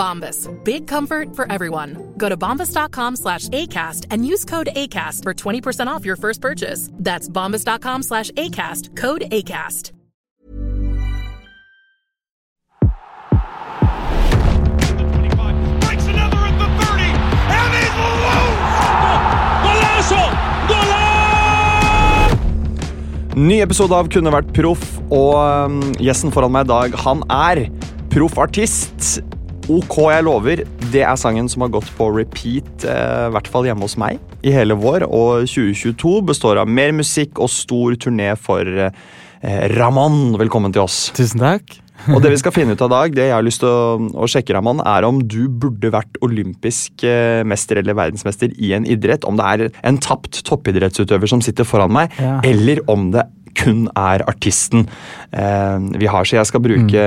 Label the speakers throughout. Speaker 1: Bombas. Big comfort for everyone. Go to bombas.com slash ACAST and use code ACAST for 20% off your first purchase. That's bombas.com slash ACAST. Code ACAST.
Speaker 2: Breaks another at the 30, and he's loose! Golazo!
Speaker 3: Ny episode av Kunne vært proff, og um, gjesten foran meg i dag, han er proffartist. Ok, jeg lover. Det er sangen som har gått på repeat, eh, i hvert fall hjemme hos meg, i hele vår. Og 2022 består av mer musikk og stor turné for eh, Raman. Velkommen til oss.
Speaker 4: Tusen takk.
Speaker 3: Og det vi skal finne ut av i dag, det jeg har lyst til å, å sjekke, Raman, er om du burde vært olympisk eh, mester eller verdensmester i en idrett. Om det er en tapt toppidrettsutøver som sitter foran meg,
Speaker 4: Ja.
Speaker 3: eller om det kun er artisten eh, vi har. Så jeg skal bruke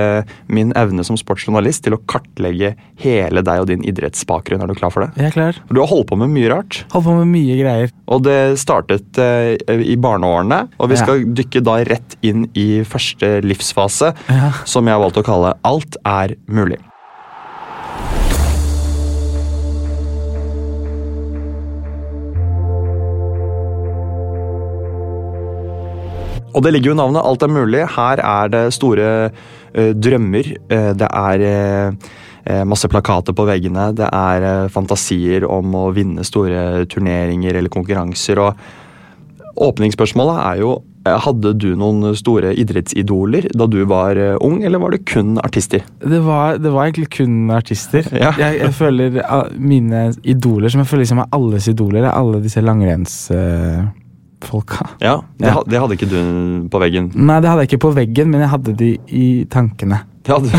Speaker 3: min evne som sportsjournalist til å kartlegge hele deg og din idrettsbakgrunn. Er du klar for det?
Speaker 4: Jeg er klar.
Speaker 3: Du har holdt på med mye rart.
Speaker 4: Holdt på med mye greier.
Speaker 3: Og det startet eh, i barneårene, og vi
Speaker 4: Ja.
Speaker 3: skal dykke da rett inn i første livsfase,
Speaker 4: Ja.
Speaker 3: som jeg har valgt å kalle Alt er mulig. Og det ligger jo i navnet Alt er mulig. Her er det store eh, drømmer. eh, det er eh, eh, masse plakater på veggene. Det er eh, fantasier om å vinne store turneringer eller konkurranser. Og åpningsspørsmålet er jo eh, hadde du noen store idrettsidoler da du var eh, ung, eller var det kun artister?
Speaker 4: Det var, det var egentlig kun artister.
Speaker 3: Ja.
Speaker 4: Jeg, jeg føler ah, mine idoler, som jeg føler liksom er alles idoler, er alle disse langrennsfolka.
Speaker 3: Ja, Det,
Speaker 4: Ja.
Speaker 3: ha- det hadde ikke du på veggen.
Speaker 4: Nei, det hadde jeg ikke på veggen, men jeg hadde de i tankene.
Speaker 3: Det hadde.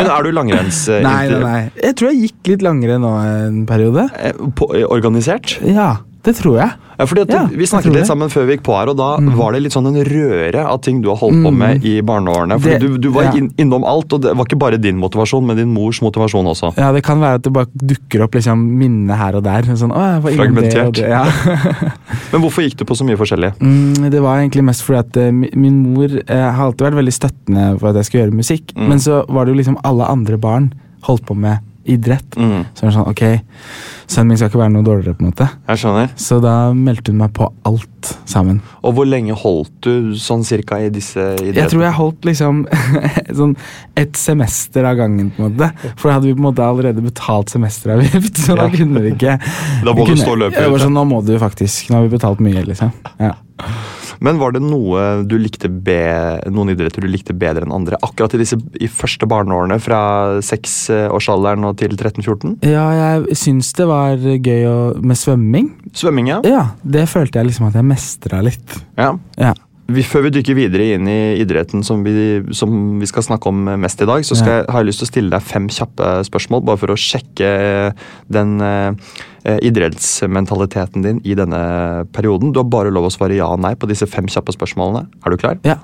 Speaker 3: Men er du langrenns... eh,
Speaker 4: Nei, nei,
Speaker 3: inter-
Speaker 4: nei. Jeg tror jeg gikk litt langrenn nå en periode.
Speaker 3: eh, På, eh, organisert?
Speaker 4: Ja, det tror jeg.
Speaker 3: Ja, fordi at
Speaker 4: Ja,
Speaker 3: Vi
Speaker 4: jeg
Speaker 3: snakket
Speaker 4: tror
Speaker 3: litt
Speaker 4: det.
Speaker 3: sammen før vi gikk på her, og da var det litt sånn en røre av ting du har holdt på
Speaker 4: Mm.
Speaker 3: med i barneårene. Fordi
Speaker 4: Det-
Speaker 3: du, du var
Speaker 4: ja.
Speaker 3: inn, innom alt, og det var ikke bare din motivasjon, men din mors motivasjon også.
Speaker 4: Ja, Det kan være at det bare dukker opp liksom minner her og der. Sånn, å, jeg var innom Det,
Speaker 3: Fragmentert.
Speaker 4: og det. Ja.
Speaker 3: Men hvorfor gikk du på så mye forskjellig?
Speaker 4: Mm, det var egentlig mest fordi at eh, mi- min mor eh, har alltid vært veldig støttende for at jeg skulle gjøre musikk,
Speaker 3: Mm.
Speaker 4: men så var det jo liksom alle andre barn holdt på med idrett.
Speaker 3: Mm,
Speaker 4: Så jeg var sånn, ok, sønnen min skal ikke være noe dårligere på en måte.
Speaker 3: jeg skjønner.
Speaker 4: Så da meldte hun meg på alt sammen.
Speaker 3: Og hvor lenge holdt du sånn cirka i disse idrettene?
Speaker 4: Jeg tror jeg holdt liksom sånn et semester av gangen, på en måte. For da hadde vi på en måte allerede betalt semesteravgift, så da
Speaker 3: Ja.
Speaker 4: kunne vi ikke
Speaker 3: Da må du
Speaker 4: vi kunne-
Speaker 3: stå løpet
Speaker 4: Jeg var
Speaker 3: ut, ja.
Speaker 4: sånn, Nå må du faktisk, nå har vi betalt mye, liksom. Ja.
Speaker 3: Men var det noe du likte be, noen idretter du likte bedre enn andre? Akkurat i disse i første barneårene, fra seksårsalderen og til 13-14?
Speaker 4: Ja, jeg syns det var gøy å, med svømming.
Speaker 3: Svømming, ja.
Speaker 4: Ja, det følte jeg liksom at jeg mestra litt.
Speaker 3: ja.
Speaker 4: Ja.
Speaker 3: vi, før vi dykker videre inn i idretten som vi, som vi skal snakke om mest i dag, så skal, jeg- har jeg lyst til å stille deg fem kjappe spørsmål, bare for å sjekke eh, den eh, eh, idrettsmentaliteten din i denne perioden. Du har bare lov å svare ja og nei på disse fem kjappe spørsmålene. Er du klar?
Speaker 4: Ja.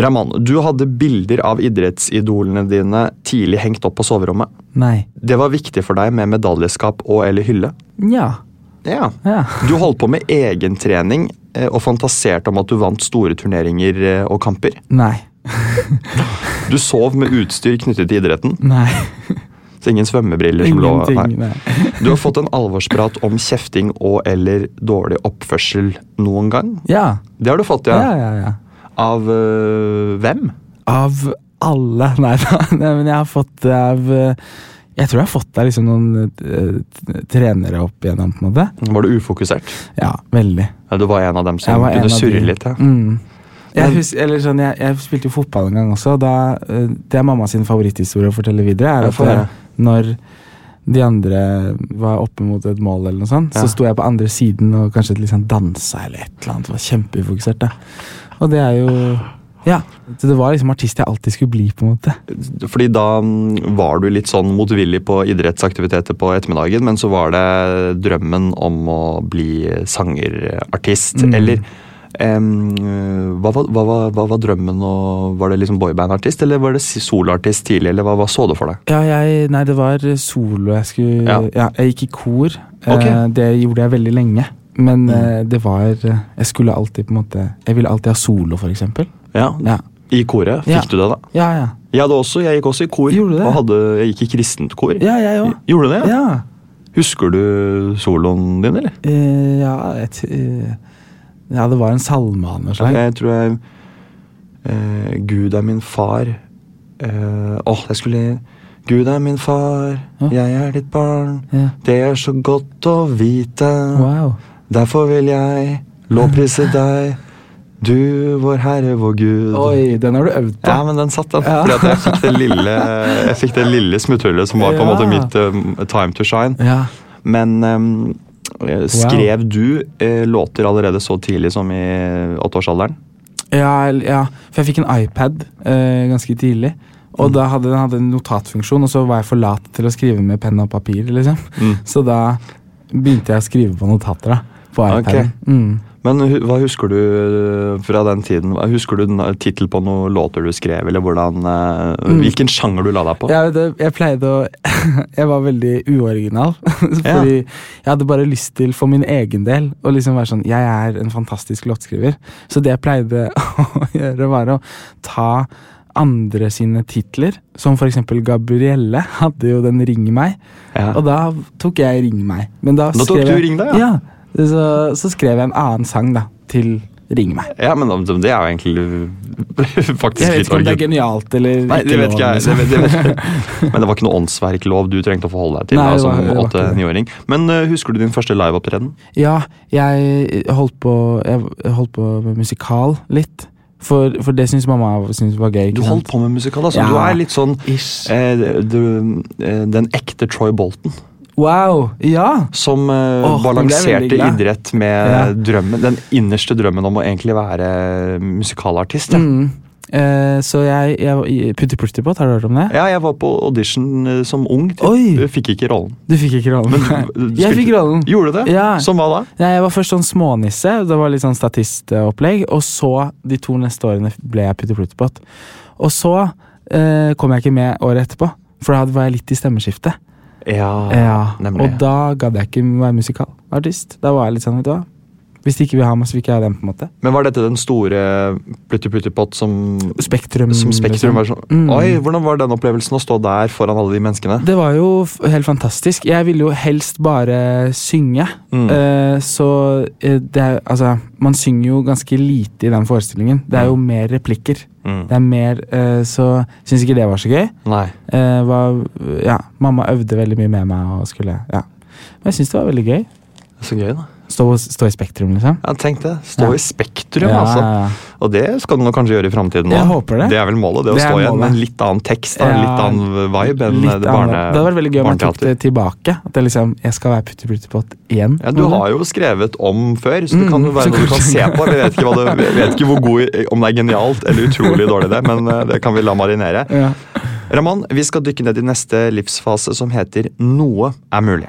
Speaker 3: Raman, du hadde bilder av idrettsidelene dine tidlig hengt opp på soverommet.
Speaker 4: Nei.
Speaker 3: Det var viktig for deg med medaljeskap og eller hylle.
Speaker 4: Nja.
Speaker 3: Ja.
Speaker 4: Ja.
Speaker 3: Du holdt på med egentrening eh, og fantaserte om at du vant store turneringer eh, og kamper.
Speaker 4: Nei.
Speaker 3: Du sov med utstyr knyttet til idretten,
Speaker 4: Nei.
Speaker 3: så ingen svømmebriller som lå
Speaker 4: Ingenting.
Speaker 3: Nei.
Speaker 4: Nei.
Speaker 3: Du har fått en alvorsprat om kjefting og eller dårlig oppførsel noen gang.
Speaker 4: Ja.
Speaker 3: Det har du fått,
Speaker 4: Ja,
Speaker 3: ja.
Speaker 4: ja, ja.
Speaker 3: Av eh, hvem?
Speaker 4: Av alle Nei da, nei, men jeg har fått det av eh, Jeg tror jeg har fått det av liksom noen eh, t- trenere opp igjennom, på en måte.
Speaker 3: Var du ufokusert?
Speaker 4: Ja, veldig.
Speaker 3: Ja, du var en av dem
Speaker 4: Jeg
Speaker 3: som
Speaker 4: var en
Speaker 3: kunne
Speaker 4: av
Speaker 3: surre
Speaker 4: de.
Speaker 3: litt. Ja.
Speaker 4: Mm. Jeg,
Speaker 3: Men-
Speaker 4: hus eller sånn, jeg, jeg spilte jo fotball en gang også. og Da, eh, det er mamma sin favoritthistorie å fortelle videre.
Speaker 3: Ja,
Speaker 4: Er at
Speaker 3: få høre.
Speaker 4: eh, Når de andre var oppe mot et mål, eller noe sånt,
Speaker 3: Ja.
Speaker 4: så sto jeg på andre siden og kanskje liksom dansa eller et eller annet. Var kjempeufokusert. Da. Og det er jo Ja. Så det var liksom artist jeg alltid skulle bli, på en måte.
Speaker 3: Fordi da mm, var du litt sånn motvillig på idrettsaktiviteter på ettermiddagen, men så var det drømmen om å bli sangerartist.
Speaker 4: Mm.
Speaker 3: Eller em, hva, var- hva, var- hva var drømmen? Og var det liksom boybandartist, eller var det si- soloartist tidlig? Eller hva, hva så du for deg?
Speaker 4: Ja, jeg, nei, det var solo jeg skulle
Speaker 3: Ja.
Speaker 4: Ja, jeg gikk i kor.
Speaker 3: Ok.
Speaker 4: Eh, det gjorde jeg veldig lenge. Men
Speaker 3: Mm.
Speaker 4: eh, det var eh, Jeg skulle alltid på en måte Jeg ville alltid ha solo, for eksempel.
Speaker 3: Ja,
Speaker 4: Ja,
Speaker 3: I koret. Fikk
Speaker 4: Ja.
Speaker 3: du det, da?
Speaker 4: ja. ja.
Speaker 3: Jeg, hadde også, jeg gikk også i kor.
Speaker 4: Gjorde du det?
Speaker 3: Og hadde, jeg gikk i kristent kor.
Speaker 4: Ja, jeg òg.
Speaker 3: Gjorde du det?
Speaker 4: Ja.
Speaker 3: Husker du soloen din, eller?
Speaker 4: Eh, ja, jeg t eh, ja, det var en salme av noe slag.
Speaker 3: Jeg tror jeg eh, Gud er min far. Eh, Åh, jeg skulle Gud er min far,
Speaker 4: Ja.
Speaker 3: jeg er ditt barn.
Speaker 4: Ja.
Speaker 3: Det er så godt å vite.
Speaker 4: Wow.
Speaker 3: Derfor vil jeg lovprise deg, du vår Herre, vår Gud.
Speaker 4: Oi, den har du øvd på.
Speaker 3: Ja, men den satt, den.
Speaker 4: Ja.
Speaker 3: Fordi at jeg fikk det lille, jeg fikk det lille smutthullet som var på en
Speaker 4: Ja.
Speaker 3: måte mitt eh, time to shine.
Speaker 4: Ja.
Speaker 3: Men ehm, eh, skrev du eh, låter allerede så tidlig som i åtteårsalderen?
Speaker 4: Ja, el- ja, for jeg fikk en iPad eh, ganske tidlig. Og da hadde den hadde en notatfunksjon, og så var jeg for lat til å skrive med penn og papir. liksom. Så da begynte jeg å skrive på notater da, på
Speaker 3: Ok.
Speaker 4: iPaden. Mm.
Speaker 3: Men hu- hva husker du eh, fra den tiden? Hva- Husker du na- tittel på noen låter du skrev, eller hvordan, eh,
Speaker 4: Mm.
Speaker 3: hvilken sjanger du la deg på?
Speaker 4: Jeg, det, jeg pleide å Jeg var veldig uoriginal. fordi jeg hadde bare lyst til, for min egen del, å liksom være sånn Jeg er en fantastisk låtskriver. Så det jeg pleide å gjøre, var å ta andre sine titler, som for eksempel Gabrielle hadde jo den Ring meg.
Speaker 3: Ja.
Speaker 4: Og da tok jeg Ring meg. Men da,
Speaker 3: Da tok
Speaker 4: skrev
Speaker 3: du
Speaker 4: jeg-
Speaker 3: Ring deg, ja.
Speaker 4: ja så, så skrev jeg en annen sang da, til Ring meg.
Speaker 3: Ja, men om- det er jo egentlig faktisk
Speaker 4: Jeg vet
Speaker 3: litt
Speaker 4: ikke om det er
Speaker 3: origin.
Speaker 4: genialt eller
Speaker 3: Nei, det vet
Speaker 4: lov,
Speaker 3: ikke jeg.
Speaker 4: liksom.
Speaker 3: Det vet, det vet. jeg. Men det var ikke noe åndsverklov du trengte å forholde deg til
Speaker 4: Nei,
Speaker 3: da,
Speaker 4: det var-
Speaker 3: som
Speaker 4: det var ikke det.
Speaker 3: åtte-niåring. Men eh, husker du din første liveopptreden?
Speaker 4: Ja, jeg holdt på, jeg holdt på med musikal litt. For, for det syns mamma syntes var gøy.
Speaker 3: Du
Speaker 4: Ikke
Speaker 3: holdt
Speaker 4: sant?
Speaker 3: på med musikal, altså.
Speaker 4: Ja.
Speaker 3: Du er litt sånn
Speaker 4: Ish.
Speaker 3: eh, du, eh, den ekte Troy Bolton.
Speaker 4: Wow! Ja!
Speaker 3: Som eh,
Speaker 4: Åh, nå ble jeg veldig
Speaker 3: balanserte
Speaker 4: glad.
Speaker 3: idrett med
Speaker 4: Ja.
Speaker 3: drømmen, den innerste drømmen om å egentlig være eh, musikalartist. Ja.
Speaker 4: Mm. Eh, så jeg, jeg Putti Plutti Pott, har du hørt om det?
Speaker 3: Ja, jeg var på audition eh, som ung. typ.
Speaker 4: Oi.
Speaker 3: Jeg Fikk ikke rollen.
Speaker 4: Du fikk ikke rollen.
Speaker 3: Men du- du
Speaker 4: jeg
Speaker 3: spilte-
Speaker 4: fikk rollen.
Speaker 3: Gjorde du det?
Speaker 4: Ja.
Speaker 3: Som hva da?
Speaker 4: Nei, jeg var først sånn smånisse, det var litt sånn statistopplegg. Og så, de to neste årene, ble jeg Putti Plutti Pott. Og så eh, kom jeg ikke med året etterpå, for da var jeg litt i stemmeskiftet.
Speaker 3: Ja,
Speaker 4: Ja,
Speaker 3: Ah, nemlig.
Speaker 4: og da gadd jeg ikke være musikalartist. Da var jeg litt sånn, vet du hva. Hvis de ikke vil ha meg, så vil ikke jeg ha dem. på en måte
Speaker 3: Men var dette den store eh, plutti-plutti-pott som,
Speaker 4: Spektrum.
Speaker 3: som Spektrum var
Speaker 4: liksom.
Speaker 3: sånn
Speaker 4: Mm.
Speaker 3: Oi, hvordan var den opplevelsen å stå der foran alle de menneskene?
Speaker 4: sånn. Det var jo f helt fantastisk. Jeg ville jo helst bare synge.
Speaker 3: Mm.
Speaker 4: Eh, så eh, det er altså Man synger jo ganske lite i den forestillingen. Det er jo mer replikker.
Speaker 3: Mm.
Speaker 4: Det er mer, eh, Så syns ikke det var så gøy.
Speaker 3: Nei.
Speaker 4: Eh, var, ja, mamma øvde veldig mye med meg og skulle ja. Men jeg syns det var veldig gøy.
Speaker 3: Så gøy, da.
Speaker 4: Stå, stå i Spektrum, liksom.
Speaker 3: Ja, Tenk det. Stå
Speaker 4: Ja.
Speaker 3: i Spektrum,
Speaker 4: Ja,
Speaker 3: altså.
Speaker 4: ja, ja.
Speaker 3: Og det skal du nok kanskje gjøre i framtiden
Speaker 4: Jeg
Speaker 3: også.
Speaker 4: håper det.
Speaker 3: Det er vel målet, det, å
Speaker 4: Det er
Speaker 3: stå igjen med en
Speaker 4: målet.
Speaker 3: litt annen tekst og en
Speaker 4: Ja,
Speaker 3: litt annen vibe enn
Speaker 4: Litt
Speaker 3: eh, det
Speaker 4: annerledes.
Speaker 3: barne,
Speaker 4: det hadde vært veldig gøy om jeg tok det
Speaker 3: barneteater.
Speaker 4: tilbake. At jeg liksom, jeg skal være Putti Plutti Pott igjen.
Speaker 3: Ja, du har jo skrevet om før, så det
Speaker 4: Mm,
Speaker 3: kan jo være noe du kan se på. Vi vet ikke, hva det, vi vet ikke hvor god, om det er genialt eller utrolig dårlig, det, men eh, det kan vi la marinere.
Speaker 4: Ja.
Speaker 3: Raman, vi skal dykke ned i neste livsfase som heter Noe er mulig.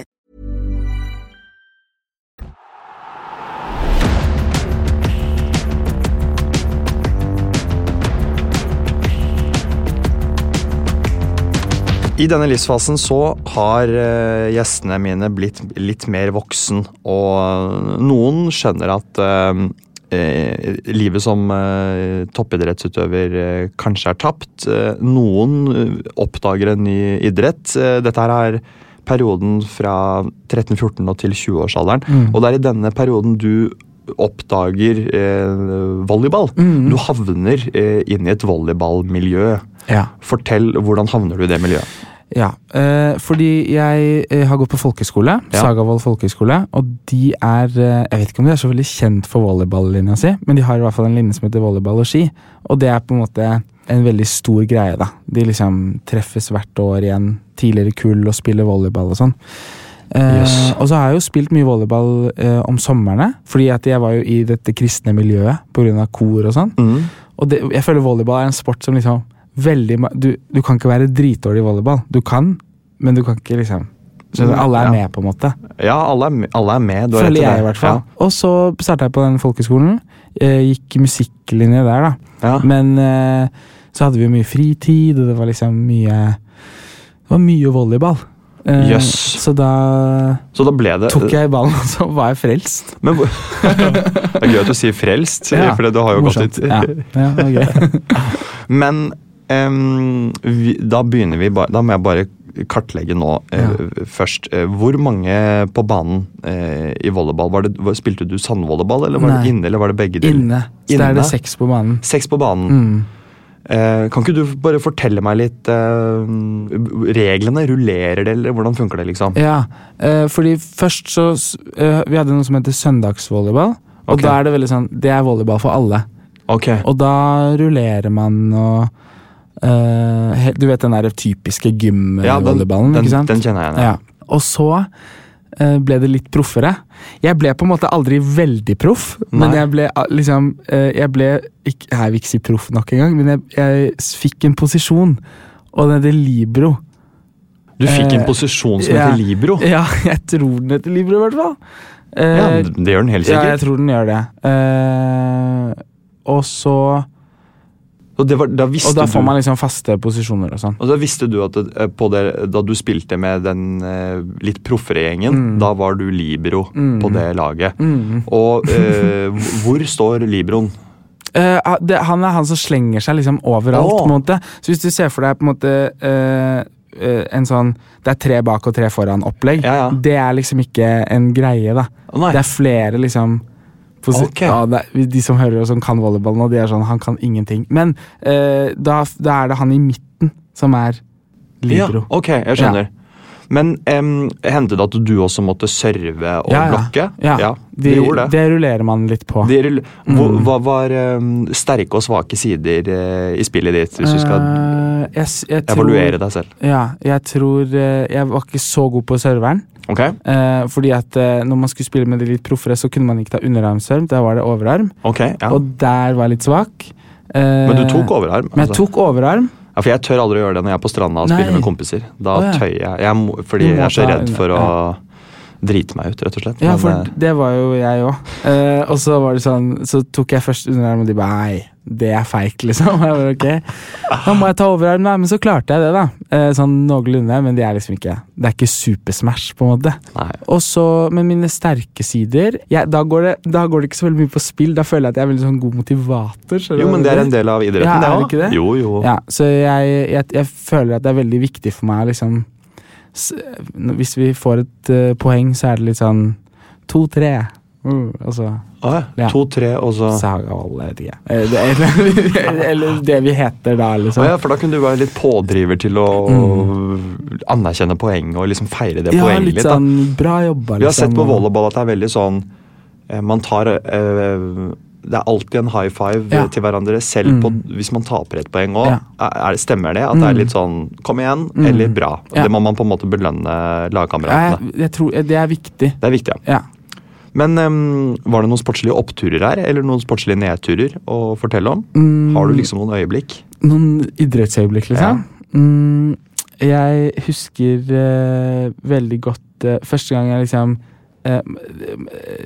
Speaker 3: I denne livsfasen så har eh, gjestene mine blitt litt mer voksen, og noen skjønner at eh, eh, livet som eh, toppidrettsutøver eh, kanskje er tapt. Eh, noen eh, oppdager en ny idrett. Eh, dette her er perioden fra 13-14 og til 20-årsalderen, og det er i denne perioden du oppdager eh, volleyball. Du havner eh, inn i et volleyballmiljø.
Speaker 4: Ja.
Speaker 3: Fortell, hvordan havner du i det miljøet?
Speaker 4: Ja, eh, fordi jeg eh, har gått på folkeskole,
Speaker 3: Ja.
Speaker 4: Sagavoll folkeskole, og de er eh, Jeg vet ikke om de er så veldig kjent for volleyballinja si, men de har i hvert fall en linje som heter volleyball og ski, og det er på en måte en veldig stor greie, da. De liksom treffes hvert år igjen, tidligere kull, og spiller volleyball og sånn. Eh,
Speaker 3: Yes.
Speaker 4: Og så har jeg jo spilt mye volleyball eh, om somrene, fordi at jeg var jo i dette kristne miljøet pga. kor og sånn.
Speaker 3: Mm.
Speaker 4: Og det, jeg føler volleyball er en sport som liksom veldig, ma- du, du kan ikke være dritdårlig i volleyball. Du kan, men du kan ikke liksom så Alle er
Speaker 3: Ja.
Speaker 4: med, på en måte.
Speaker 3: Ja, alle er, me- alle er med. Du har rett
Speaker 4: Føler
Speaker 3: til
Speaker 4: jeg,
Speaker 3: det.
Speaker 4: i hvert fall. Og så starta jeg på den folkeskolen. eh, Gikk musikklinje der, da.
Speaker 3: Ja. Ja.
Speaker 4: Men eh, så hadde vi jo mye fritid, og det var liksom mye Det var mye volleyball. Eh,
Speaker 3: Jøss.
Speaker 4: Så da
Speaker 3: Så da ble det eh,
Speaker 4: tok jeg ballen, og så var jeg frelst.
Speaker 3: Men, hvor- det er gøy at du sier frelst,
Speaker 4: Ja,
Speaker 3: for det har jo gått
Speaker 4: morsomt.
Speaker 3: litt
Speaker 4: Ja. Ja, det var gøy.
Speaker 3: Men em, vi, da begynner vi bare Da må jeg bare kartlegge nå eh,
Speaker 4: Ja.
Speaker 3: først. Eh, Hvor mange på banen eh, i volleyball? Var det, var, spilte du sandvolleyball, eller var
Speaker 4: Nei.
Speaker 3: det inne, eller var det begge deler?
Speaker 4: Inne. Så da er
Speaker 3: Inne?
Speaker 4: det seks på banen.
Speaker 3: Seks på banen.
Speaker 4: Mm.
Speaker 3: Eh, kan ikke du bare fortelle meg litt eh, Reglene, rullerer det, eller hvordan funker det, liksom?
Speaker 4: Ja, eh, fordi først så s- eh, Vi hadde noe som heter søndagsvolleyball. Og
Speaker 3: Ok.
Speaker 4: da er det veldig sånn Det er volleyball for alle.
Speaker 3: Ok.
Speaker 4: Og da rullerer man og eh, he- Du vet den der typiske
Speaker 3: Ja, den-
Speaker 4: gymvolleyballen,
Speaker 3: den-
Speaker 4: ikke sant?
Speaker 3: den kjenner jeg igjen, ja.
Speaker 4: Ja. Og så eh, ble det litt proffere. Jeg ble på en måte aldri veldig proff, men
Speaker 3: Nei.
Speaker 4: jeg ble ah, liksom eh, Jeg ble ikke, Jeg vil ikke si proff nok engang, men jeg, jeg s- fikk en posisjon, og den heter libro.
Speaker 3: Du fikk en
Speaker 4: Eh,
Speaker 3: posisjon som
Speaker 4: ja.
Speaker 3: heter Libro.
Speaker 4: Ja, jeg tror den heter Libro, i hvert fall. Eh,
Speaker 3: Ja, det gjør den helt
Speaker 4: ja, jeg
Speaker 3: sikkert.
Speaker 4: tror den gjør det. Eh, og så
Speaker 3: og, det var, da visste
Speaker 4: Og da får
Speaker 3: du,
Speaker 4: man liksom faste posisjoner og sånn.
Speaker 3: og da visste du at det, eh, på det, da du spilte med den eh, litt proffere
Speaker 4: Mm.
Speaker 3: gjengen, da var du Libro på det laget. Og eh, hvor står Libroen?
Speaker 4: Eh, ah, det, han er han som slenger seg liksom overalt,
Speaker 3: Åh.
Speaker 4: på en måte. Så hvis du ser for deg på en måte eh, eh, en sånn Det er tre bak og tre foran-opplegg.
Speaker 3: Ja, ja.
Speaker 4: Det er liksom ikke en greie, da.
Speaker 3: Å, nei.
Speaker 4: Det er flere, liksom posi-
Speaker 3: Ok.
Speaker 4: ja, det er, De som hører og som kan volleyball nå, de er sånn Han kan ingenting. Men eh, da, da er det han i midten som er libro.
Speaker 3: Ja, ok, jeg skjønner. Men em, hendte det at du også måtte serve og blokke?
Speaker 4: Ja,
Speaker 3: det
Speaker 4: de,
Speaker 3: gjorde det.
Speaker 4: det Mm. rullerer man litt på.
Speaker 3: De rull- Hva- Hva var em, sterke og svake sider eh, i spillet ditt, hvis du skal
Speaker 4: Eh, jeg, s- jeg tror-
Speaker 3: evaluere deg selv?
Speaker 4: Ja, jeg tror eh, Jeg var ikke så god på serveren.
Speaker 3: Ok,
Speaker 4: Eh, fordi at eh, når man skulle spille med de litt proffere, så kunne man ikke ta underarmsarm. Der var det overarm,
Speaker 3: ok, ja.
Speaker 4: og der var jeg litt svak. Eh,
Speaker 3: Men du tok overarm?
Speaker 4: Men jeg
Speaker 3: altså.
Speaker 4: tok overarm,
Speaker 3: Ja, for jeg tør aldri å gjøre det når jeg er på stranda og spiller
Speaker 4: Nei.
Speaker 3: med kompiser. Da
Speaker 4: Å, ja.
Speaker 3: tøyer jeg, jeg må,
Speaker 4: Du
Speaker 3: fordi
Speaker 4: må
Speaker 3: jeg er så
Speaker 4: ta
Speaker 3: redd
Speaker 4: en-
Speaker 3: for å drite meg ut, rett og slett. Men,
Speaker 4: Ja,
Speaker 3: eh,
Speaker 4: for det var jo jeg òg. Eh, og så var det sånn Så tok jeg først underarmen, og de bare Nei, det er feigt, liksom. Og Jeg bare, ok Da må jeg ta overarmen, da. Men så klarte jeg det, da. Eh, sånn noenlunde, men det er liksom ikke Det er ikke super-smash, på en måte.
Speaker 3: Nei.
Speaker 4: Og så, Men mine sterke sider jeg, da, går det, da går det ikke så veldig mye på spill. Da føler jeg at jeg er veldig sånn god motivator. skjønner du
Speaker 3: Jo,
Speaker 4: hva
Speaker 3: men
Speaker 4: jeg
Speaker 3: det er
Speaker 4: mener?
Speaker 3: en del av idretten,
Speaker 4: Ja,
Speaker 3: det også.
Speaker 4: er det ikke det?
Speaker 3: Jo, jo.
Speaker 4: Ja, så jeg, jeg, jeg føler at det er veldig viktig for meg å liksom s- n- Hvis vi får et eh, poeng, så er det litt sånn to-tre. Mm, altså
Speaker 3: Å, ja. To-tre, og så
Speaker 4: Saga og alle, jeg vet ikke. Eh, det, eller, eller det vi heter da, liksom.
Speaker 3: Å ja, for da kunne du være litt pådriver til å anerkjenne poenget og liksom feire det
Speaker 4: Mm. Ja,
Speaker 3: poenget
Speaker 4: litt
Speaker 3: litt. da.
Speaker 4: sånn bra jobba,
Speaker 3: Vi har sett på
Speaker 4: og-
Speaker 3: volleyball at det er veldig sånn eh, Man tar eh, Det er alltid en high five eh,
Speaker 4: Ja. Mm.
Speaker 3: til hverandre, selv på, hvis man taper et poeng òg. Stemmer det? At det er litt sånn Kom igjen,
Speaker 4: Mm.
Speaker 3: eller bra.
Speaker 4: Ja.
Speaker 3: Det må man på en måte belønne
Speaker 4: Ja,
Speaker 3: lagkameratene.
Speaker 4: jeg, jeg tror, eh, Det er viktig.
Speaker 3: Det er viktig, ja.
Speaker 4: Ja.
Speaker 3: Men em, var det noen sportslige oppturer her, eller noen sportslige nedturer å fortelle om? Har
Speaker 4: Mm.
Speaker 3: du liksom noen øyeblikk?
Speaker 4: Noen idrettsøyeblikk, liksom? Mm, jeg husker eh, veldig godt eh, første gang jeg liksom eh,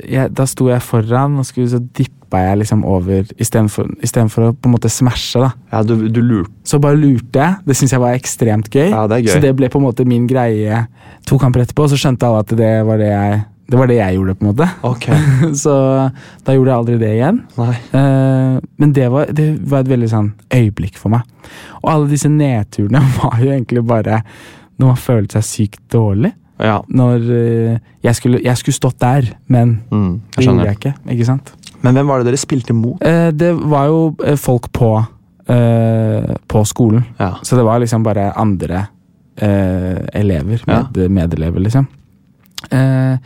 Speaker 4: jeg, Da sto jeg foran, og skulle, så dippa jeg liksom over istedenfor istedenfor å på en måte smashe. da
Speaker 3: Ja, du, du lurte
Speaker 4: Så bare lurte jeg. Det syns jeg var ekstremt gøy.
Speaker 3: Ja, det er gøy.
Speaker 4: Så det ble på en måte min greie to kamper etterpå, og så skjønte alle at det var det jeg, det, var det jeg gjorde. på en måte
Speaker 3: Ok.
Speaker 4: Så da gjorde jeg aldri det igjen.
Speaker 3: Nei.
Speaker 4: Eh, men det var, det var et veldig sånn øyeblikk for meg. Og alle disse nedturene var jo egentlig bare når man følte seg sykt dårlig.
Speaker 3: Ja.
Speaker 4: Når eh, jeg, skulle, jeg skulle stått der, men
Speaker 3: Mm, jeg
Speaker 4: det gjorde
Speaker 3: skjønner.
Speaker 4: jeg ikke. ikke sant?
Speaker 3: Men hvem var det dere spilte mot?
Speaker 4: Eh, det var jo eh, folk på, eh, på skolen.
Speaker 3: Ja.
Speaker 4: Så det var liksom bare andre eh, elever,
Speaker 3: Ja.
Speaker 4: med, medelever, liksom. Eh,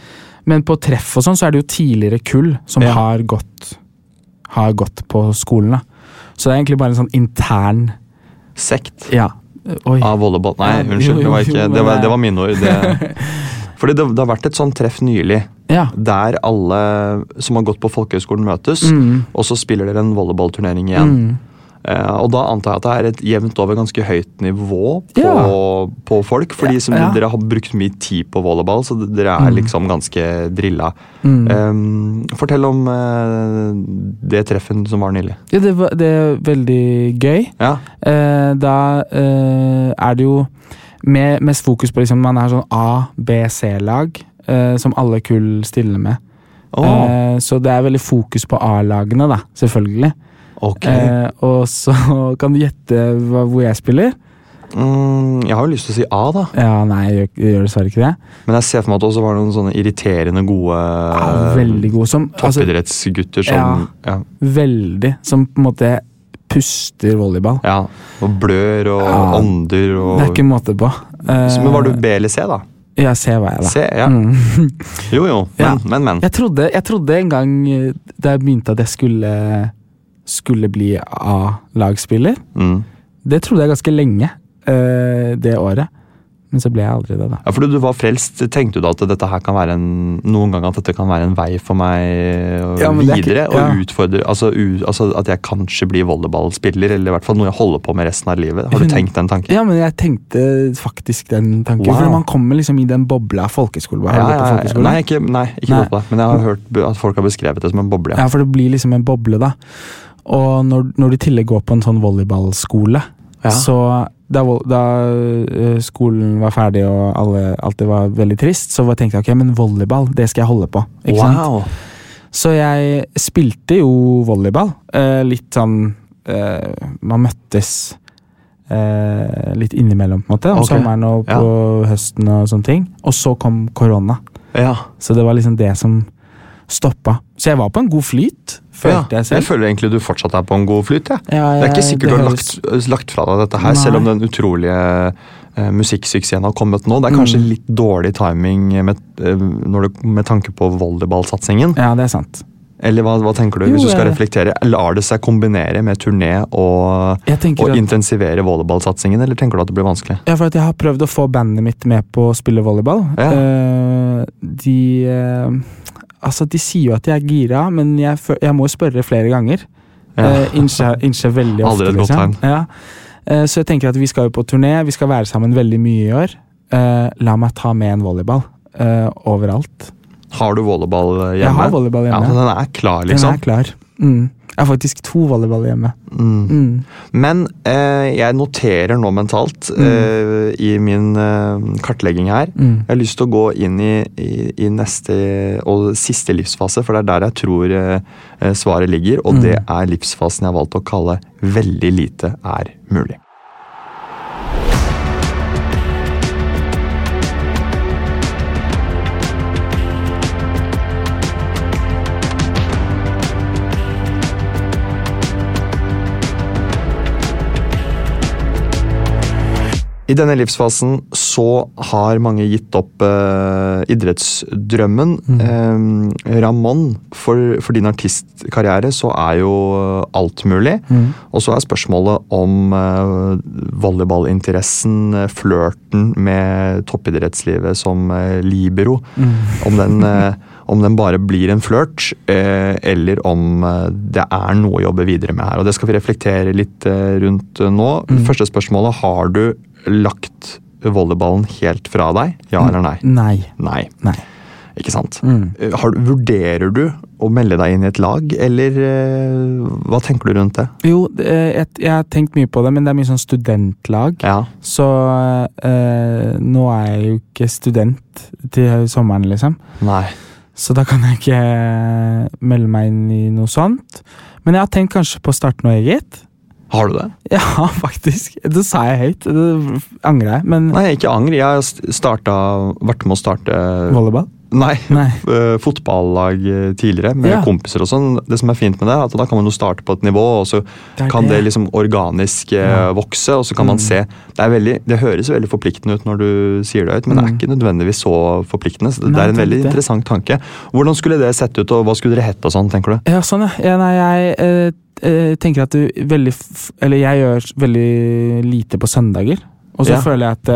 Speaker 4: men på treff og sånn, så er det jo tidligere kull som
Speaker 3: Ja.
Speaker 4: har, gått, har gått på skolen. da. Så det er egentlig bare en sånn intern
Speaker 3: Sekt
Speaker 4: Ja. eh, Oi.
Speaker 3: av volleyball. Nei,
Speaker 4: Ja, jo,
Speaker 3: unnskyld. Det
Speaker 4: jo,
Speaker 3: var,
Speaker 4: jo,
Speaker 3: ikke,
Speaker 4: men
Speaker 3: det var,
Speaker 4: det-
Speaker 3: det var mine ord. Det. Fordi det, det har vært et sånt treff nylig
Speaker 4: Ja.
Speaker 3: der alle som har gått på folkehøyskolen, møtes.
Speaker 4: Mm.
Speaker 3: Og så spiller dere en volleyballturnering igjen.
Speaker 4: Mm.
Speaker 3: Eh, og da antar jeg at det er et jevnt over ganske høyt nivå på,
Speaker 4: Ja.
Speaker 3: på folk. Fordi som
Speaker 4: Ja. Mm.
Speaker 3: dere har brukt mye tid på volleyball, så dere er liksom ganske drilla. Eh, fortell om eh, det treffen som var nylig.
Speaker 4: Ja, det, var, det er veldig gøy.
Speaker 3: Ja.
Speaker 4: Eh, da eh, er det jo med, mest fokus på liksom man er sånn A-, B-, C-lag, eh, som alle kull stiller med.
Speaker 3: Åh,
Speaker 4: Eh, så det er veldig fokus på A-lagene, da, selvfølgelig.
Speaker 3: ok.
Speaker 4: Eh, og så kan du gjette hva, hvor jeg spiller.
Speaker 3: Mm, jeg har jo lyst til å si A, da.
Speaker 4: Ja, nei, jeg gjør, jeg gjør dessverre ikke det.
Speaker 3: Men jeg ser for meg at det også var noen sånne irriterende gode Eh,
Speaker 4: Ja, veldig god som Ah, altså,
Speaker 3: toppidrettsgutter som ja.
Speaker 4: Veldig. Som på en måte puster volleyball.
Speaker 3: Ja, og blør og
Speaker 4: Ja.
Speaker 3: ånder og
Speaker 4: Det er ikke måte på. Eh,
Speaker 3: Så- Men var du B eller C, da?
Speaker 4: Ja, C var jeg, da.
Speaker 3: C, ja.
Speaker 4: Mm.
Speaker 3: Jo jo, men,
Speaker 4: Ja.
Speaker 3: men, men.
Speaker 4: Jeg trodde, jeg trodde en gang eh, da jeg begynte at jeg skulle, skulle bli A-lagspiller.
Speaker 3: Mm.
Speaker 4: Det trodde jeg ganske lenge eh, det året. Men så ble jeg aldri det, da.
Speaker 3: Ja, fordi du var frelst, tenkte du da at dette her kan være en, noen gang at dette kan være en vei for meg og
Speaker 4: Ja, men det er
Speaker 3: videre?
Speaker 4: ikke- ja.
Speaker 3: Og utfordre, altså, u, altså at jeg kanskje blir volleyballspiller, eller i hvert fall noe jeg holder på med resten av livet. Har du
Speaker 4: Hun-
Speaker 3: tenkt den tanken?
Speaker 4: Mm. Ja, men jeg tenkte faktisk den tanken.
Speaker 3: Wow.
Speaker 4: For man kommer liksom i den bobla av folkeskole. Har du gått på folkeskole?
Speaker 3: Nei, ikke, nei, ikke
Speaker 4: Nei.
Speaker 3: gått på det. Men jeg har hørt be- at folk har beskrevet det som en boble.
Speaker 4: ja. for det blir liksom en boble, da. Og når, når du i tillegg går på en sånn volleyballskole,
Speaker 3: Ja.
Speaker 4: så da, vol- da eh, skolen var ferdig og alle, alt det var veldig trist, så var- tenkte jeg ok, men volleyball, det skal jeg holde på. Ikke sant?
Speaker 3: wow.
Speaker 4: Så jeg spilte jo volleyball. eh, litt sånn eh, Man møttes eh, litt innimellom, på en måte. Om
Speaker 3: Ok.
Speaker 4: sommeren og på høsten og sånne ting. Og så kom korona.
Speaker 3: Ja.
Speaker 4: Så det var liksom det som stoppa. Så jeg var på en god flyt, følte
Speaker 3: ja.
Speaker 4: jeg selv.
Speaker 3: føler egentlig du fortsatt er på en god flyt. Ja.
Speaker 4: Ja,
Speaker 3: det er ikke
Speaker 4: jeg-
Speaker 3: sikkert
Speaker 4: det
Speaker 3: du har lagt,
Speaker 4: høres-
Speaker 3: lagt fra deg dette her,
Speaker 4: Nei.
Speaker 3: selv om den utrolige eh, musikksuksessen har kommet nå.
Speaker 4: Mm.
Speaker 3: Det er kanskje litt dårlig timing med, eh, når det, med tanke på volleyballsatsingen.
Speaker 4: Ja, det er sant.
Speaker 3: Eller hva, hva tenker du,
Speaker 4: Jo,
Speaker 3: hvis du skal
Speaker 4: jeg-
Speaker 3: reflektere? Lar det seg kombinere med turné og,
Speaker 4: Jeg tenker
Speaker 3: og
Speaker 4: at-
Speaker 3: intensivere volleyballsatsingen, eller tenker du at det blir vanskelig?
Speaker 4: Ja, for at jeg har prøvd å få bandet mitt med på å spille volleyball.
Speaker 3: Ja.
Speaker 4: Eh, de eh, Altså, de sier jo at jeg er gira, men jeg, fø- jeg må jo spørre flere ganger.
Speaker 3: Ja.
Speaker 4: Eh, innser, innser veldig ofte.
Speaker 3: Aldri et godt
Speaker 4: liksom.
Speaker 3: tegn.
Speaker 4: Ja. Eh, Så jeg tenker at vi skal jo på turné, vi skal være sammen veldig mye i år. Eh, La meg ta med en volleyball eh, overalt.
Speaker 3: Har du volleyball hjemme?
Speaker 4: Jeg har volleyball hjemme.
Speaker 3: Ja, så den er klar, liksom.
Speaker 4: Den er klar. Mm. Jeg har faktisk to volleyballer hjemme.
Speaker 3: Mm.
Speaker 4: Mm.
Speaker 3: Men eh, jeg noterer nå mentalt eh, i min eh, kartlegging her.
Speaker 4: Mm.
Speaker 3: Jeg har lyst til å gå inn i, i, i neste og siste livsfase, for det er der jeg tror eh, eh, svaret ligger. Og
Speaker 4: Mm.
Speaker 3: det er livsfasen jeg har valgt å kalle 'veldig lite er mulig'. I denne livsfasen så har mange gitt opp eh, idrettsdrømmen. Eh, Ramón, for, for din artistkarriere så er jo alt mulig.
Speaker 4: Mm.
Speaker 3: Og så er spørsmålet om eh, volleyballinteressen, eh, flørten med toppidrettslivet som eh, libero, om, den, eh, om den bare blir en flørt, eh, eller om eh, det er noe å jobbe videre med her. Og Det skal vi reflektere litt eh, rundt eh, nå. Første spørsmålet, har du lagt volleyballen helt fra deg? Ja eller nei?
Speaker 4: Mm. Nei.
Speaker 3: Nei.
Speaker 4: Nei.
Speaker 3: Ikke sant?
Speaker 4: Mm.
Speaker 3: Eh, Har, du- vurderer du å melde deg inn i et lag, eller eh, hva tenker du rundt det?
Speaker 4: Jo, det- eh, jeg, jeg har tenkt mye på det, men det er mye sånn studentlag.
Speaker 3: Ja.
Speaker 4: Så eh, nå er jeg jo ikke student til sommeren, liksom.
Speaker 3: Nei.
Speaker 4: Så da kan jeg ikke eh, melde meg inn i noe sånt. Men jeg har tenkt kanskje på å starte noe eget.
Speaker 3: Har du det?
Speaker 4: Ja, faktisk. Det sa jeg høyt. Det angrer jeg, men
Speaker 3: Nei, ikke angre. Jeg har st- starta, vært med å starte
Speaker 4: volleyball?
Speaker 3: Nei,
Speaker 4: Nei.
Speaker 3: eh, fotballag eh, tidligere med
Speaker 4: Ja.
Speaker 3: kompiser og sånn. Det som er fint med det, er at da kan man jo starte på et nivå, og så
Speaker 4: Det er
Speaker 3: kan det
Speaker 4: det.
Speaker 3: liksom organisk eh,
Speaker 4: Ja. Mm.
Speaker 3: vokse, og så kan man se det, er veldig, det høres veldig forpliktende ut når du sier det høyt, men det er
Speaker 4: Mm.
Speaker 3: ikke nødvendigvis så forpliktende. Så det,
Speaker 4: Nei,
Speaker 3: er en
Speaker 4: tenk
Speaker 3: veldig
Speaker 4: det.
Speaker 3: interessant tanke. Hvordan skulle det sett ut, og hva skulle dere hett og sånn, tenker du?
Speaker 4: Ja, sånn, ja. ja nei, jeg eh, eh, tenker at du veldig f Eller jeg gjør veldig lite på søndager. Og så
Speaker 3: Ja.
Speaker 4: føler jeg at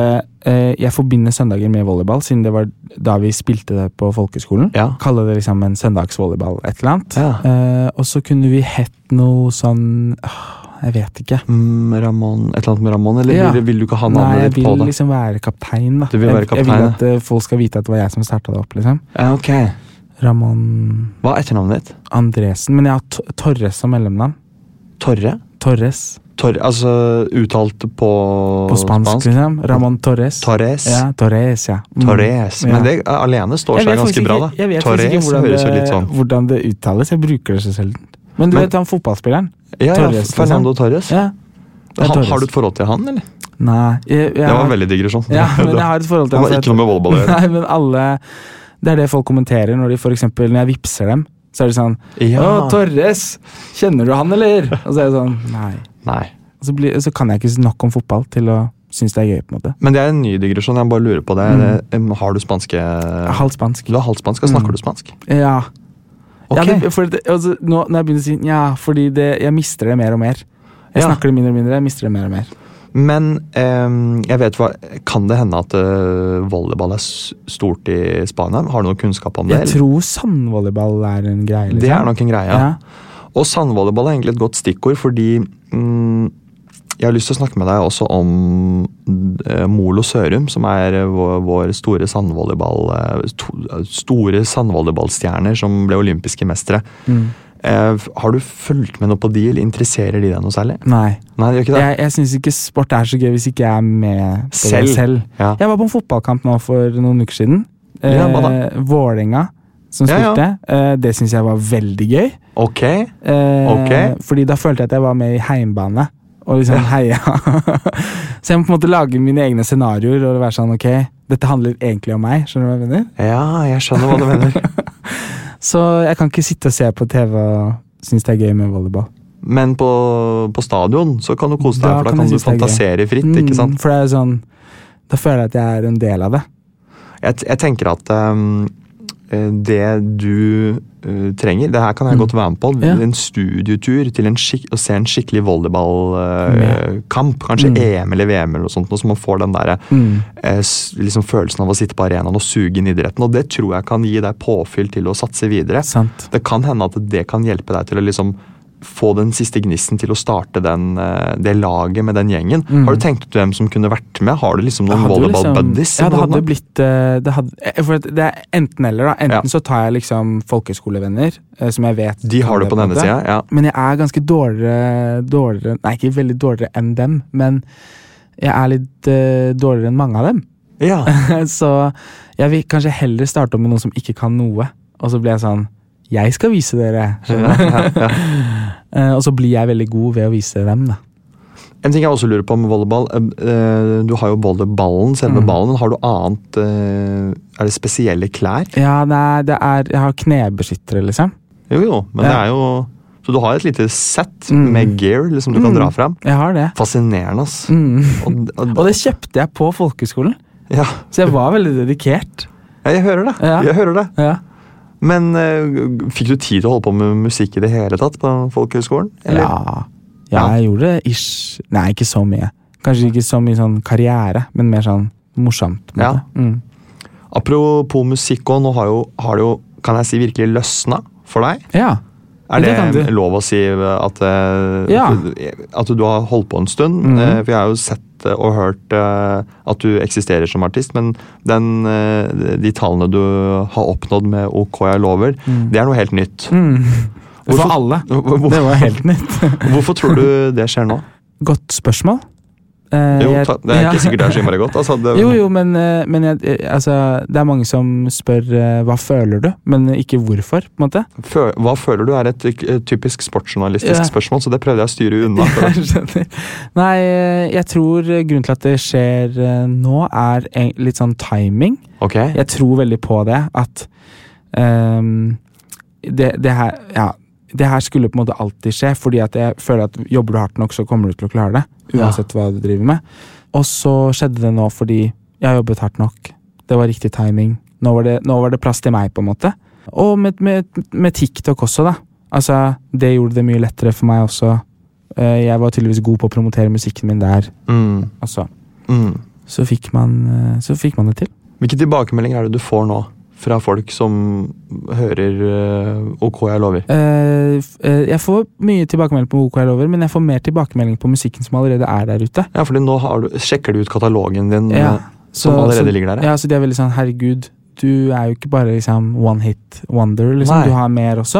Speaker 4: eh, jeg forbinder søndager med volleyball, siden det var da vi spilte det på folkeskolen.
Speaker 3: Ja.
Speaker 4: Kalle det liksom en søndagsvolleyball, et eller annet.
Speaker 3: Ja.
Speaker 4: Eh, og så kunne vi hett noe sånn ah, Jeg vet ikke.
Speaker 3: Mm, Ramon, et eller annet med Ramón, eller
Speaker 4: Ja.
Speaker 3: vil, vil du ikke ha
Speaker 4: Nei,
Speaker 3: navnet
Speaker 4: jeg
Speaker 3: ditt på
Speaker 4: vil
Speaker 3: det?
Speaker 4: liksom være kaptein, da.
Speaker 3: Du vil være
Speaker 4: jeg, jeg vil
Speaker 3: kaptein,
Speaker 4: at eh, folk skal vite at det var jeg som starta det opp, liksom.
Speaker 3: Ja, ok.
Speaker 4: Ramón
Speaker 3: Hva er etternavnet ditt?
Speaker 4: Andresen. Men jeg har T- Torres som mellomnavn.
Speaker 3: Torre?
Speaker 4: Torres.
Speaker 3: Torre, altså uttalt på,
Speaker 4: På spansk, liksom. Ramón Torres.
Speaker 3: Torres.
Speaker 4: Ja, Torres, ja. Mm.
Speaker 3: Torres.
Speaker 4: Ja.
Speaker 3: Men det alene står
Speaker 4: Jeg vet
Speaker 3: seg ganske
Speaker 4: faktisk
Speaker 3: bra, da.
Speaker 4: ikke- Jeg vet
Speaker 3: Torres
Speaker 4: faktisk ikke hvordan
Speaker 3: høres jo
Speaker 4: det,
Speaker 3: litt sånn
Speaker 4: hvordan det uttales. Jeg bruker det så sjelden. Men du
Speaker 3: Men-
Speaker 4: vet han fotballspilleren?
Speaker 3: Ja, ja,
Speaker 4: Torres, liksom.
Speaker 3: Fernando Torres.
Speaker 4: Ja. det er
Speaker 3: Han,
Speaker 4: Torres.
Speaker 3: har du et forhold til han, eller?
Speaker 4: Nei. Jeg, jeg,
Speaker 3: Det var veldig digresjon.
Speaker 4: ja, men jeg har et forhold til
Speaker 3: han har
Speaker 4: så
Speaker 3: ikke noe med volleyball å
Speaker 4: jeg-
Speaker 3: gjøre.
Speaker 4: Nei, men alle Det er det folk kommenterer når de for eksempel, når jeg vippser dem. Så er det sånn
Speaker 3: Ja.
Speaker 4: Å, Torres! Kjenner du han, eller? Og så er jeg sånn Nei.
Speaker 3: Nei.
Speaker 4: Og så, blir, så kan jeg ikke nok om fotball til å synes det er gøy, på en måte.
Speaker 3: Men det er en ny digresjon. Jeg bare lurer på
Speaker 4: Mm.
Speaker 3: det. Em, Har du spanske
Speaker 4: Halvt spansk.
Speaker 3: Du er halvt spansk, og
Speaker 4: Mm.
Speaker 3: snakker du spansk?
Speaker 4: Ja.
Speaker 3: Ok.
Speaker 4: Ja, det, for det, altså, nå, når jeg begynner å si ja, fordi det, jeg mister det mer og mer. Jeg
Speaker 3: Ja.
Speaker 4: snakker det mindre og mindre, jeg mister det mer og mer.
Speaker 3: Men em, jeg vet hva Kan det hende at eh, volleyball er s- stort i Spania? Har du noe kunnskap om det?
Speaker 4: Jeg
Speaker 3: eller?
Speaker 4: tror sandvolleyball er en greie. liksom.
Speaker 3: Det er nok en greie.
Speaker 4: ja.
Speaker 3: Ja. Og sandvolleyball er egentlig et godt stikkord, fordi mm, jeg har lyst til å snakke med deg også om eh, Molo Sørum, som er eh, vår, vår store sandvolleyball eh, to, eh, store sandvolleyballstjerner som ble olympiske mestere.
Speaker 4: Mm.
Speaker 3: Eh, f- har du fulgt med noe på de, eller interesserer de deg noe særlig?
Speaker 4: Nei.
Speaker 3: Nei, det gjør ikke det.
Speaker 4: Jeg, jeg syns ikke sport er så gøy hvis ikke jeg er med på
Speaker 3: Selv.
Speaker 4: det selv.
Speaker 3: Ja.
Speaker 4: Jeg var på en fotballkamp nå for noen uker siden. Eh,
Speaker 3: Ja, hva da?
Speaker 4: Vålerenga, som
Speaker 3: Ja, ja.
Speaker 4: spilte. Eh, det syns jeg var veldig gøy.
Speaker 3: Ok.
Speaker 4: Eh,
Speaker 3: Ok.
Speaker 4: Fordi da følte jeg at jeg var med i heimbane. Og liksom heia. så jeg må på en måte lage mine egne scenarioer og være sånn ok, dette handler egentlig om meg. Skjønner du hva jeg mener?
Speaker 3: Ja, jeg skjønner hva du mener.
Speaker 4: Så jeg kan ikke sitte og se på TV og synes det er gøy med volleyball.
Speaker 3: Men på, på stadion så kan du kose deg,
Speaker 4: Da
Speaker 3: for da kan
Speaker 4: kan
Speaker 3: du
Speaker 4: jeg synes det er
Speaker 3: fantasere fritt. ikke sant?
Speaker 4: Mm, for det er jo sånn Da føler jeg at jeg er en del av det.
Speaker 3: Jeg, t- jeg tenker at ehm, eh, det du eh, trenger Det her kan jeg
Speaker 4: Mm.
Speaker 3: godt være med på.
Speaker 4: Ja.
Speaker 3: En studietur til en skik å se en skikkelig volleyballkamp. kanskje
Speaker 4: Mm.
Speaker 3: EM eller VM, eller noe sånt, noe så man får den der,
Speaker 4: Mm.
Speaker 3: eh, s- liksom følelsen av å sitte på arenaen og suge inn idretten. Og det tror jeg kan gi deg påfyll til å satse videre.
Speaker 4: Sant.
Speaker 3: Det kan hende at det kan hjelpe deg til å liksom få den siste gnisten til å starte den, eh, det laget med den gjengen.
Speaker 4: Mm.
Speaker 3: Har du tenkt ut hvem som kunne vært med? Har du liksom noen
Speaker 4: hadde jo
Speaker 3: volleyball
Speaker 4: liksom-
Speaker 3: buddies?
Speaker 4: Ja, det
Speaker 3: blant
Speaker 4: hadde
Speaker 3: annet?
Speaker 4: blitt eh, det, hadde, eh, for at det er enten eller, da. Enten så tar jeg liksom folkehøyskolevenner, eh, som jeg vet
Speaker 3: De har
Speaker 4: kan
Speaker 3: det på den ene
Speaker 4: måte.
Speaker 3: sida, ja.
Speaker 4: Men jeg er ganske dårligere, dårligere Nei, ikke veldig dårligere enn dem, men jeg er litt eh, dårligere enn mange av dem. Eh,
Speaker 3: Ja.
Speaker 4: så jeg vil kanskje heller starte opp med noen som ikke kan noe, og så blir jeg sånn Jeg skal vise dere! skjønner du? Eh, og så blir jeg veldig god ved å vise dem, da.
Speaker 3: En ting jeg også lurer på med volleyball. eh, eh, Du har jo både ballen, selve
Speaker 4: Mm.
Speaker 3: ballen, men har du annet eh, Er det spesielle klær?
Speaker 4: Ja, nei, det er Jeg har knebeskyttere, liksom.
Speaker 3: Jo, jo, men det
Speaker 4: Ja.
Speaker 3: er jo Så du har et lite sett
Speaker 4: Mm.
Speaker 3: med gear liksom du kan
Speaker 4: Mm.
Speaker 3: dra fram.
Speaker 4: Jeg har det.
Speaker 3: Fascinerende, ass.
Speaker 4: Mm.
Speaker 3: Og, og,
Speaker 4: Og det kjøpte jeg på folkehøyskolen,
Speaker 3: ja.
Speaker 4: så jeg var veldig dedikert.
Speaker 3: ja, jeg hører det.
Speaker 4: Ja.
Speaker 3: Jeg hører det.
Speaker 4: Ja.
Speaker 3: Men eh, fikk du tid til å holde på med musikk i det hele tatt på folkehøyskolen? eller?
Speaker 4: Ja. ja, jeg gjorde det ish. Nei, ikke så mye. Kanskje ikke så mye sånn karriere, men mer sånn morsomt. på en
Speaker 3: Ja.
Speaker 4: måte. Mm.
Speaker 3: Apropos musikk òg, nå har, jo, har det jo, kan jeg si, virkelig løsna for deg.
Speaker 4: ja.
Speaker 3: Er
Speaker 4: Det
Speaker 3: det,
Speaker 4: kan du.
Speaker 3: lov å si at, eh,
Speaker 4: Ja.
Speaker 3: at du har holdt på en stund?
Speaker 4: Mhm.
Speaker 3: Eh, For jeg har jo sett eh, og hørt eh, at du eksisterer som artist, men den, eh, de tallene du har oppnådd med OK, jeg lover,
Speaker 4: Mm.
Speaker 3: det er noe helt nytt.
Speaker 4: Mm.
Speaker 3: Hvorfor-
Speaker 4: For alle.
Speaker 3: Hvor- hvor-
Speaker 4: Det var helt nytt.
Speaker 3: Hvorfor tror du det skjer nå?
Speaker 4: Godt spørsmål. Eh,
Speaker 3: Jo,
Speaker 4: jeg-
Speaker 3: ta, det er
Speaker 4: ja.
Speaker 3: ikke sikkert det er så innmari godt. Altså, det,
Speaker 4: Jo, jo, men, eh, men jeg, eh, altså, det er mange som spør eh, hva føler du, men ikke hvorfor. på en måte.
Speaker 3: Fø, hva føler du er et eh, typisk sportsjournalistisk
Speaker 4: Ja.
Speaker 3: spørsmål, så det prøvde jeg å styre unna.
Speaker 4: Jeg skjønner. Nei, eh, jeg tror eh, grunnen til at det skjer eh, nå, er en- litt sånn timing.
Speaker 3: Ok,
Speaker 4: Jeg tror veldig på det. At ehm, det, det her Ja. Det her skulle på en måte alltid skje, fordi at jeg føler at jobber du hardt nok, så kommer du til å klare det.
Speaker 3: Ja.
Speaker 4: Uansett hva du driver med. Og så skjedde det nå fordi jeg har jobbet hardt nok. Det var riktig timing. Nå var det, nå var det plass til meg, på en måte. Og med, med, med TikTok også, da. Altså, det gjorde det mye lettere for meg også. Eh, Jeg var tydeligvis god på å promotere musikken min der
Speaker 3: Mm,
Speaker 4: også.
Speaker 3: mm.
Speaker 4: Så fikk man, eh, så fikk man det til.
Speaker 3: Hvilke tilbakemeldinger er det du får nå fra folk som hører eh, OK, jeg lover?
Speaker 4: Eh, f- eh, jeg får mye tilbakemelding på OK jeg lover, men jeg får mer tilbakemelding på musikken som allerede er der ute.
Speaker 3: Ja, fordi nå har du, sjekker du ut katalogen din
Speaker 4: Ja,
Speaker 3: eh, som allerede
Speaker 4: så,
Speaker 3: ligger der.
Speaker 4: ja, så de er veldig sånn Herregud, du er jo ikke bare liksom one hit wonder, liksom.
Speaker 3: Nei.
Speaker 4: Du har mer også.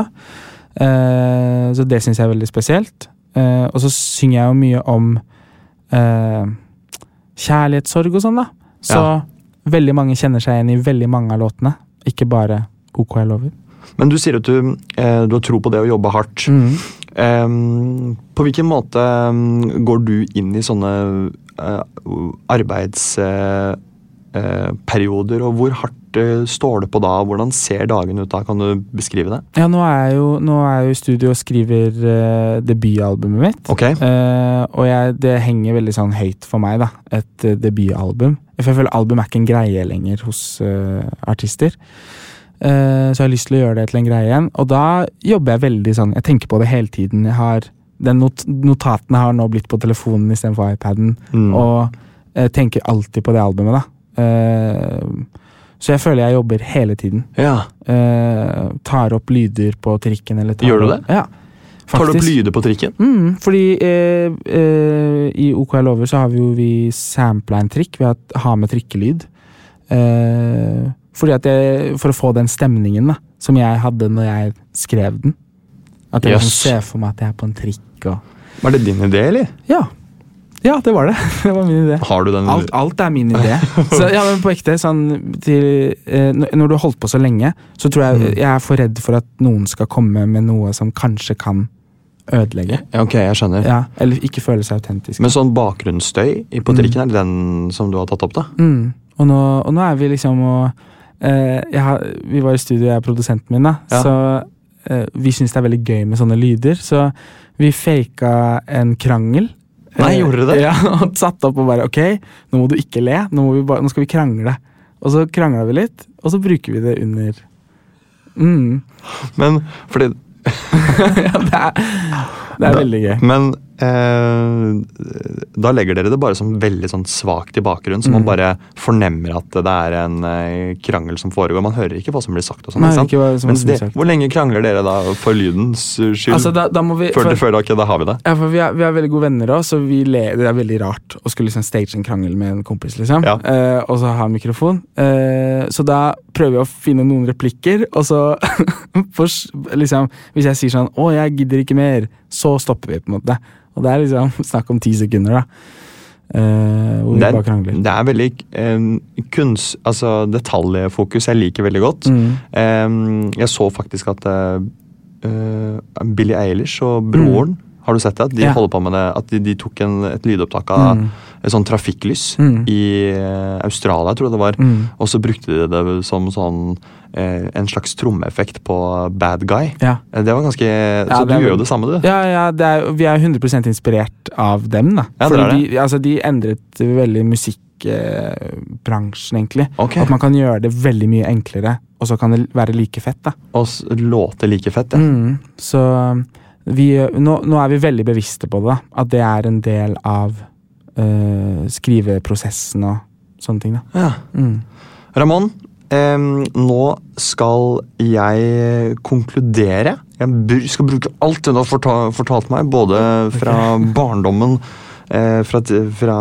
Speaker 4: Eh, så det syns jeg er veldig spesielt. Eh, og så synger jeg jo mye om eh, kjærlighetssorg og sånn, da. Så
Speaker 3: Ja.
Speaker 4: veldig mange kjenner seg igjen i veldig mange av låtene. Ikke bare OK jeg lover.
Speaker 3: Men du sier at du, eh, du har tro på det å jobbe hardt.
Speaker 4: Mm.
Speaker 3: Em, på hvilken måte em, går du inn i sånne eh, arbeidsperioder, eh, og hvor hardt eh, står det på da? Hvordan ser dagen ut da? Kan du beskrive det?
Speaker 4: Ja, nå er jeg jo, nå er jeg jo i studio og skriver eh, debutalbumet mitt.
Speaker 3: Ok.
Speaker 4: Eh, og jeg, det henger veldig sånn høyt for meg, da. Et eh, debutalbum. For jeg føler album er ikke en greie lenger hos eh, artister. Eh, så jeg har lyst til å gjøre det til en greie igjen. Og da jobber jeg veldig sånn Jeg tenker på det hele tiden. Jeg har, den not notatene har nå blitt på telefonen istedenfor iPaden.
Speaker 3: Mm.
Speaker 4: Og eh, tenker alltid på det albumet, da. Eh, så jeg føler jeg jobber hele tiden.
Speaker 3: ja.
Speaker 4: Eh, tar opp lyder på trikken. Eller tar
Speaker 3: Gjør du
Speaker 4: opp- Ja.
Speaker 3: Tar du opp
Speaker 4: faktisk.
Speaker 3: lyder på trikken?
Speaker 4: Mm, fordi eh, eh, i OK jeg lover så har vi jo vi sampla en trikk ved å ha med trikkelyd. Eh, fordi at jeg, For å få den stemningen da som jeg hadde når jeg skrev den. At jeg
Speaker 3: Jøss.
Speaker 4: liksom ser for meg at jeg er på en trikk og
Speaker 3: Var det din idé, eller?
Speaker 4: Ja. Ja, det var det. Det var min idé.
Speaker 3: Har du den?
Speaker 4: Alt, alt er min idé. Så, ja, men på ekte, sånn, til, eh, n- når du har holdt på så lenge, så tror
Speaker 3: Mm.
Speaker 4: jeg jeg er for redd for at noen skal komme med noe som kanskje kan ødelegge.
Speaker 3: Ja, Ok, jeg skjønner.
Speaker 4: Ja, eller ikke føle seg autentisk.
Speaker 3: Men sånn bakgrunnsstøy i- på
Speaker 4: Mm.
Speaker 3: trikken, er det den som du har tatt opp, da?
Speaker 4: mm. og, nå, og nå er vi liksom og eh, jeg har, Vi var i studio, jeg er produsenten min, da.
Speaker 3: Ja.
Speaker 4: Så eh, vi syns det er veldig gøy med sånne lyder. Så vi faka en krangel.
Speaker 3: Nei, gjorde du det?
Speaker 4: Eh, Ja, og satte opp og bare Ok, nå må du ikke le. Nå, må vi bare, nå skal vi krangle. Og så krangla vi litt, og så bruker vi det under mm.
Speaker 3: Men fordi
Speaker 4: ja, det er, Det er veldig gøy.
Speaker 3: Men eh, da legger dere det bare som veldig sånn svakt i bakgrunnen, så man
Speaker 4: Mm.
Speaker 3: bare fornemmer at det er en eh, krangel som foregår. Man hører ikke hva som blir sagt. og sånn,
Speaker 4: Nei,
Speaker 3: ikke sant?
Speaker 4: ikke hva som
Speaker 3: Mens
Speaker 4: blir
Speaker 3: det-
Speaker 4: sagt.
Speaker 3: Hvor lenge krangler dere da, for lydens skyld?
Speaker 4: Altså, da, da må vi,
Speaker 3: før, før, ok, da har vi det.
Speaker 4: Ja, for vi er, vi er veldig gode venner også, så vi le, det er veldig rart å skulle liksom stage en krangel med en kompis, liksom.
Speaker 3: Ja.
Speaker 4: Eh, og så ha mikrofon. Eh, så da prøver jeg å finne noen replikker, og så for, s- liksom, Hvis jeg sier sånn 'Å, jeg gidder ikke mer', så stopper vi, på en måte. Og det er liksom snakk om ti sekunder, da. Eh, hvor vi
Speaker 3: Det er,
Speaker 4: bare krangler.
Speaker 3: det er veldig eh, kunst... Altså detaljfokus jeg liker veldig godt.
Speaker 4: Mm.
Speaker 3: Eh, jeg så faktisk at eh, eh, Billie Eilish og broren Har du sett det? At de
Speaker 4: Mm. Ja.
Speaker 3: holder på med det, at de, de tok en, et lydopptak av
Speaker 4: Mm.
Speaker 3: et sånn trafikklys
Speaker 4: Mm.
Speaker 3: i eh, Australia, tror jeg det var.
Speaker 4: Mm.
Speaker 3: Og så brukte de det som sånn eh, en slags trommeeffekt på Bad Guy.
Speaker 4: Ja.
Speaker 3: Eh, Det var ganske
Speaker 4: Ja,
Speaker 3: Så
Speaker 4: det
Speaker 3: du
Speaker 4: er
Speaker 3: gjør jo
Speaker 4: vel-
Speaker 3: det samme, du.
Speaker 4: Ja, ja det er, vi er 100 inspirert av dem. da
Speaker 3: Ja, det er
Speaker 4: Fordi
Speaker 3: det.
Speaker 4: De, altså, de endret veldig musikkbransjen, egentlig.
Speaker 3: Ok.
Speaker 4: At man kan gjøre det veldig mye enklere, og så kan det være like fett. da
Speaker 3: Og s- låter like fett, ja.
Speaker 4: mm, Så vi, nå, nå er vi veldig bevisste på det, da at det er en del av øh, skriveprosessen og sånne ting. da
Speaker 3: ja.
Speaker 4: mm.
Speaker 3: Ramón, em, nå skal jeg konkludere. Jeg br- skal bruke alt du har forta- fortalt meg, både fra barndommen, eh, fra, t- fra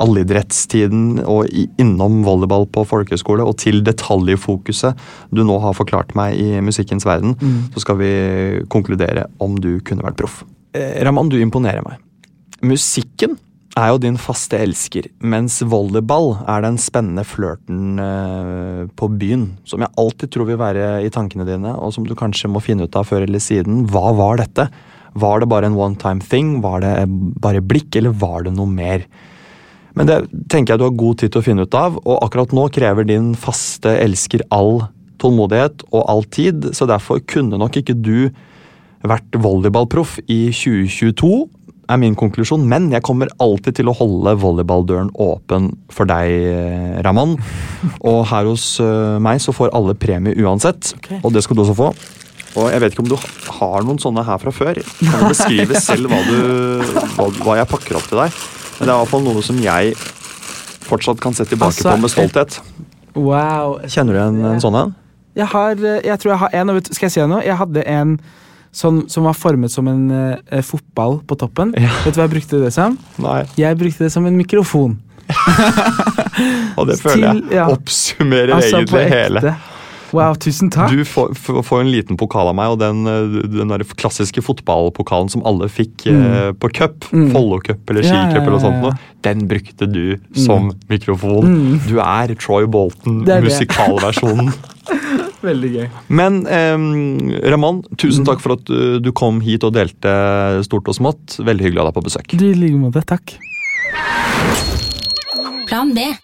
Speaker 3: allidrettstiden og i- innom volleyball på folkehøyskole, og til detaljfokuset du nå har forklart meg i musikkens verden.
Speaker 4: Mm.
Speaker 3: Så skal vi konkludere om du kunne vært proff. Eh, Ramón, du imponerer meg. Musikken er jo din faste elsker, mens volleyball er den spennende flørten eh, på byen, som jeg alltid tror vil være i tankene dine, og som du kanskje må finne ut av før eller siden. Hva var dette? Var det bare en one time thing? Var det eh, bare blikk, eller var det noe mer? Men det tenker jeg du har god tid til å finne ut av, og akkurat nå krever din faste elsker all tålmodighet og all tid, så derfor kunne nok ikke du vært volleyballproff i 2022, er min konklusjon, men jeg kommer alltid til å holde volleyballdøren åpen for deg, eh, Raman. Og her hos eh, meg så får alle premie uansett, og det skal du også få. Og jeg vet ikke om du har noen sånne her fra før. Kan du beskrive selv hva, du, hva, hva jeg pakker opp til deg? Men det er i hvert fall noe som jeg fortsatt kan se tilbake
Speaker 4: Altså,
Speaker 3: på med stolthet.
Speaker 4: Wow.
Speaker 3: Kjenner du en, en sånn en?
Speaker 4: Jeg, har, eh, jeg tror jeg har en, og vet, du- skal jeg si deg noe? Jeg hadde en sånn, som var formet som en eh, eh, fotball på toppen. Vet du hva jeg brukte det som?
Speaker 3: Nei.
Speaker 4: Jeg brukte det som en mikrofon.
Speaker 3: Og det føler
Speaker 4: Til- ja.
Speaker 3: jeg oppsummerer
Speaker 4: Altså, på
Speaker 3: egentlig hele.
Speaker 4: ekte. Wow, tusen takk.
Speaker 3: Du får, f- får en liten pokal av meg, og den, eh, den der klassiske fotballpokalen som alle fikk eh, på cup,
Speaker 4: Mm.
Speaker 3: Follo-cup eller
Speaker 4: Ja, ja,
Speaker 3: Ski-cup eller noe
Speaker 4: ja,
Speaker 3: sånt,
Speaker 4: ja. Mm.
Speaker 3: noe, den brukte du som mikrofon. Du er Troy Bolton,
Speaker 4: Det er det.
Speaker 3: musikalversjonen.
Speaker 4: Veldig gøy.
Speaker 3: Men eh, Raman,
Speaker 4: Mm.
Speaker 3: tusen takk for at eh, du kom hit og delte stort og smått. Veldig hyggelig å ha deg på besøk.
Speaker 4: Du i like måte. Takk.
Speaker 5: Plan B.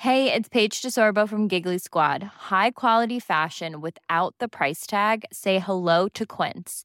Speaker 6: Hey, it's Paige DeSorbo from Giggly Squad. High quality fashion without the price tag. Say hello to Quince.